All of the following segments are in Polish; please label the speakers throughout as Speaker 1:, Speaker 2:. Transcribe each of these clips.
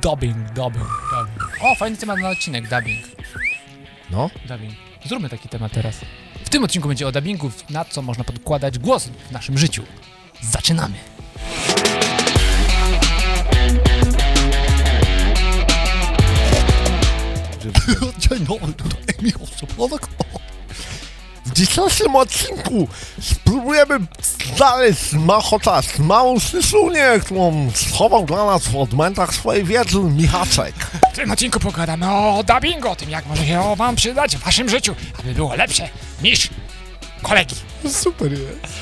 Speaker 1: Dubbing, dubbing, dubbing. O, fajny temat na odcinek, dubbing,
Speaker 2: No,
Speaker 1: dubbing. Zróbmy taki temat teraz. W tym odcinku będzie o dubbingu, na co można podkładać głos w naszym życiu. Zaczynamy!
Speaker 2: Dzień dobry, tutaj Michał Soplowek. W dzisiejszym odcinku spróbujemy znaleźć machota z małą sysunie, którą schował dla nas w odmętach swojej wiedzy Michaczek.
Speaker 1: W tym odcinku pogadamy o dubbingu, o tym jak może się o wam przydać w waszym życiu, aby było lepsze niż kolegi.
Speaker 2: Super jest.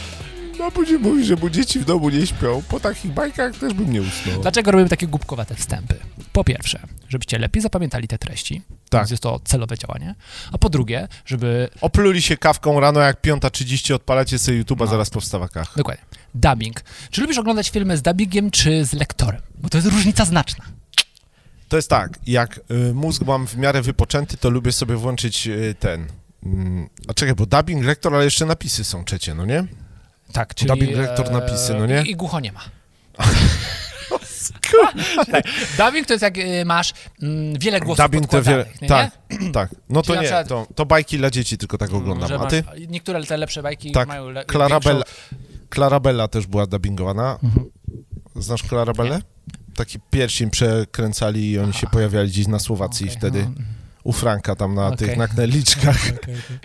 Speaker 2: No później mówi, że bo dzieci w domu nie śpią. Po takich bajkach też bym nie usnął.
Speaker 1: Dlaczego robimy takie głupkowate wstępy? Po pierwsze, żebyście lepiej zapamiętali te treści,
Speaker 2: Tak.
Speaker 1: więc jest to celowe działanie, a po drugie, żeby
Speaker 2: Opluli się kawką rano, jak 5.30 odpalacie sobie YouTube'a, zaraz po wstawakach.
Speaker 1: Dokładnie. Dubbing. Czy lubisz oglądać filmy z dubbingiem czy z lektorem?
Speaker 3: Bo to jest różnica znaczna.
Speaker 2: To jest tak, jak y, mózg mam w miarę wypoczęty, to lubię sobie włączyć y, ten... Mm, a czekaj, bo dubbing, lektor, ale jeszcze napisy są trzecie, no nie?
Speaker 1: Tak, czyli...
Speaker 2: Dubbing, lektor, napisy, no nie?
Speaker 1: I, i głucho nie ma. Tak. Dubbing to jest jak y, masz mm, wiele głosów
Speaker 2: dubbing to
Speaker 1: podkładanych, nie?
Speaker 2: Tak, tak. No to
Speaker 1: Czyli na
Speaker 2: nie,
Speaker 1: przykład- Mm,
Speaker 2: to, to bajki dla dzieci tylko tak oglądam.
Speaker 1: Że
Speaker 2: A
Speaker 1: masz-
Speaker 2: ty?
Speaker 1: Niektóre te lepsze bajki
Speaker 2: Tak,
Speaker 1: mają... Le-
Speaker 2: Clarabella.
Speaker 1: większą-
Speaker 2: Clarabella też była dubbingowana.
Speaker 1: Mhm.
Speaker 2: Znasz Clarabellę? Taki pierścień przekręcali i oni się pojawiali gdzieś na Słowacji
Speaker 1: Okej,
Speaker 2: wtedy.
Speaker 1: no.
Speaker 2: U Franka tam na
Speaker 1: Okej.
Speaker 2: tych nakleliczkach.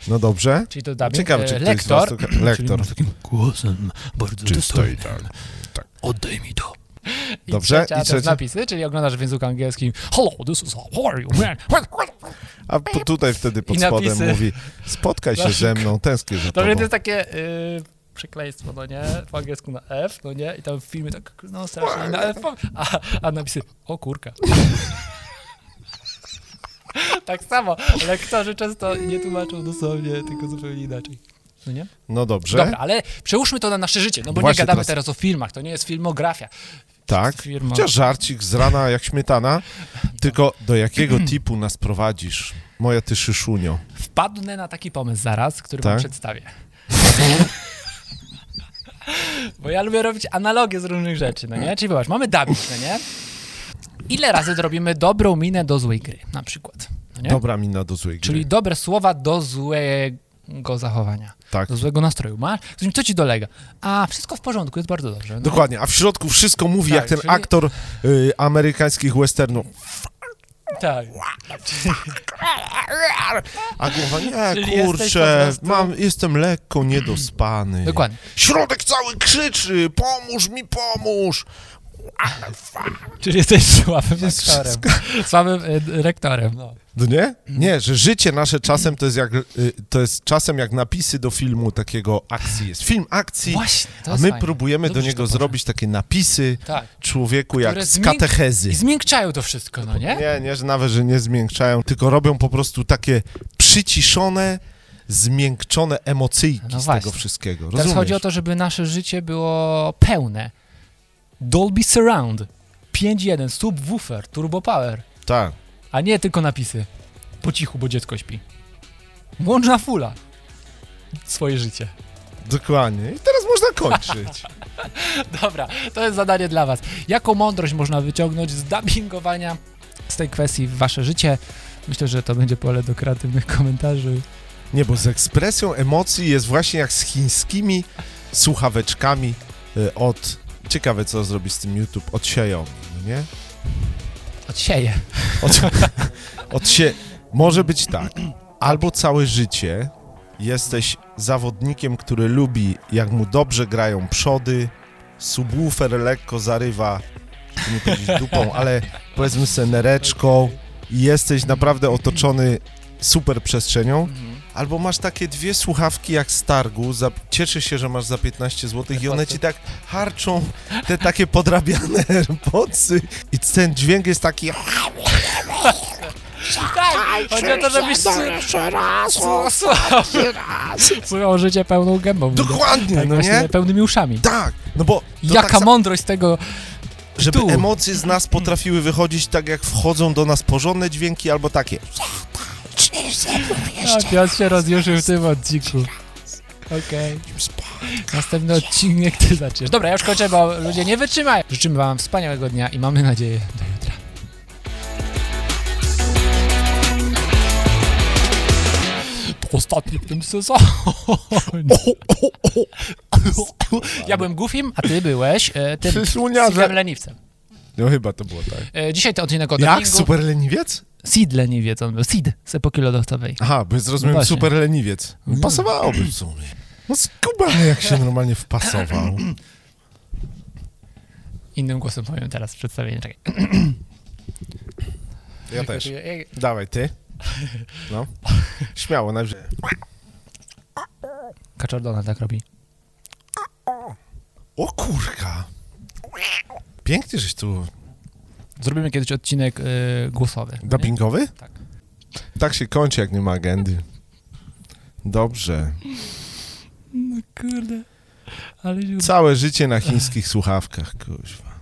Speaker 2: No dobrze.
Speaker 1: Czyli to dubbing.
Speaker 2: Ciekawe, czy
Speaker 1: E,
Speaker 2: ktoś z
Speaker 1: lektor.
Speaker 2: was... to- Lektor.
Speaker 3: takim głosem bardzo
Speaker 2: Czystej, tak. tak.
Speaker 3: Oddaj mi to.
Speaker 1: I
Speaker 2: Dobrze,
Speaker 1: trzecia
Speaker 2: i
Speaker 1: to jest
Speaker 2: trzecia?
Speaker 1: napisy, czyli oglądasz w języku angielskim Hello, this is how are you, man?
Speaker 2: A po- tutaj wtedy pod
Speaker 1: I
Speaker 2: spodem
Speaker 1: napisy.
Speaker 2: mówi spotkaj się
Speaker 1: Nasz-
Speaker 2: ze mną, tęsknię za
Speaker 1: To
Speaker 2: tobą.
Speaker 1: więc jest takie y, przekleństwo, no nie? Po angielsku na F, no nie? I tam w filmie tak, no strasznie na F, a, a napisy, o kurka. tak samo, lektorzy często nie tłumaczą dosłownie, tylko zupełnie inaczej. No nie?
Speaker 2: No dobrze,
Speaker 1: Dobra, ale przełóżmy to na nasze życie, no bo
Speaker 2: Właśnie
Speaker 1: nie gadamy
Speaker 2: teraz-
Speaker 1: teraz... o filmach, to nie jest filmografia.
Speaker 2: tak.
Speaker 1: Firma.
Speaker 2: Chociaż żarcik z rana jak śmietana, tylko do jakiego tipu nas prowadzisz, moja ty szyszunio?
Speaker 1: Wpadnę na taki pomysł zaraz, który
Speaker 2: Tak?
Speaker 1: wam przedstawię. Bo ja lubię robić analogie z różnych rzeczy, no nie? Czyli zobacz, mamy dubbing, no nie? Ile razy zrobimy dobrą minę do złej gry, na przykład, no nie?
Speaker 2: Dobra mina do złej gry.
Speaker 1: Czyli dobre słowa do złego zachowania,
Speaker 2: Tak.
Speaker 1: do złego nastroju. Masz? Ktoś mi, Co ci dolega? A, wszystko w porządku, jest bardzo dobrze. No.
Speaker 2: Dokładnie, a w środku wszystko mówi
Speaker 1: Tak,
Speaker 2: jak ten
Speaker 1: czyli-
Speaker 2: aktor y, amerykańskich westernów.
Speaker 1: Tak.
Speaker 2: A głowa, nie,
Speaker 1: Czyli jesteś po
Speaker 2: kurczę,
Speaker 1: prostu-
Speaker 2: mam, jestem lekko niedospany.
Speaker 1: Dokładnie.
Speaker 2: Środek cały krzyczy, pomóż mi, pomóż.
Speaker 1: Czyli jesteś słabym lektorem.
Speaker 2: wszystko.
Speaker 1: Słabym y, rektorem, no.
Speaker 2: No nie? Nie, że życie nasze czasem to jest jak, y, to jest czasem jak napisy do filmu takiego akcji. Jest film akcji,
Speaker 1: Właśnie, to
Speaker 2: a
Speaker 1: jest
Speaker 2: my
Speaker 1: fajne.
Speaker 2: próbujemy do
Speaker 1: Dobrze, że
Speaker 2: niego
Speaker 1: to poszło.
Speaker 2: zrobić takie napisy
Speaker 1: Tak.
Speaker 2: człowieku jak
Speaker 1: Które
Speaker 2: z
Speaker 1: zmię-
Speaker 2: katechezy.
Speaker 1: I zmiękczają to wszystko, no nie?
Speaker 2: Nie, nie, że nawet, że nie zmiękczają, tylko robią po prostu takie przyciszone, zmiękczone emocyjki
Speaker 1: No
Speaker 2: z
Speaker 1: właśnie.
Speaker 2: tego wszystkiego.
Speaker 1: Teraz
Speaker 2: Rozumiesz?
Speaker 1: chodzi o to, żeby nasze życie było pełne. Dolby Surround 5.1, subwoofer, turbo power,
Speaker 2: Tak.
Speaker 1: a nie tylko napisy. Po cichu, bo dziecko śpi. Włącz na fula. Swoje życie.
Speaker 2: Dokładnie. I teraz można kończyć.
Speaker 1: Dobra, to jest zadanie dla was. Jaką mądrość można wyciągnąć z dubbingowania z tej kwestii w wasze życie? Myślę, że to będzie pole do kreatywnych komentarzy.
Speaker 2: Nie, bo z ekspresją emocji jest właśnie jak z chińskimi słuchaweczkami y, od... Ciekawe, co zrobi z tym YouTube. Od Xiaomi, no nie?
Speaker 1: Odsieje.
Speaker 2: Od, od się... Może być tak. Albo całe życie jesteś zawodnikiem, który lubi, jak mu dobrze grają przody, subwoofer lekko zarywa, nie powiedzieć dupą, ale powiedzmy senereczką i jesteś naprawdę otoczony super przestrzenią. Albo masz takie dwie słuchawki jak z targu, za, cieszysz się, że masz za 15 zł i one ci tak harczą te takie podrabiane AirPodsy i ten dźwięk jest taki...
Speaker 1: Tak, chodzi o to, żebyś
Speaker 2: Jeszcze raz,
Speaker 1: słuchał życie pełną gębą.
Speaker 2: Dokładnie,
Speaker 1: Tak,
Speaker 2: no
Speaker 1: właśnie
Speaker 2: nie?
Speaker 1: pełnymi uszami.
Speaker 2: Tak, no bo to
Speaker 1: Jaka
Speaker 2: tak samo,
Speaker 1: mądrość z tego
Speaker 2: żeby
Speaker 1: tu.
Speaker 2: emocje z nas potrafiły wychodzić tak, jak wchodzą do nas porządne dźwięki albo takie.
Speaker 1: A Piotr Tak, się rozjuszył w tym odcinku. Okej. Następny odcinek ty zaczniesz. Dobra, ja już kończę, bo ludzie nie wytrzymają. Życzymy wam wspaniałego dnia i mamy nadzieję do jutra. ostatni w tym sezonie. Ja byłem Goofim, a ty byłeś e, tym
Speaker 2: Słoniarze.
Speaker 1: Sidem Leniwcem.
Speaker 2: No chyba to było tak.
Speaker 1: E, dzisiaj to odcinek o
Speaker 2: Jak?
Speaker 1: dopingu.
Speaker 2: Super leniwiec?
Speaker 1: Sid Leniwiec on był, Sid z epoki lodowcowej.
Speaker 2: Aha, bo zrozumiałem
Speaker 1: No właśnie.
Speaker 2: super leniwiec. No, Pasowałoby w sumie. No skubany jak się normalnie wpasował.
Speaker 1: Innym głosem powiem teraz przedstawienie. Czekaj.
Speaker 2: Ja też. Dawaj, ty. No. Śmiało, najwyżej.
Speaker 1: Kaczordona tak robi.
Speaker 2: O kurka. Pięknie żeś tu...
Speaker 1: Zrobimy kiedyś odcinek e, głosowy. nie?
Speaker 2: Dubbingowy?
Speaker 1: Tak.
Speaker 2: Tak się kończy, jak nie ma agendy. Dobrze.
Speaker 1: No kurde. Ale się
Speaker 2: Całe życie na chińskich słuchawkach, kuźwa.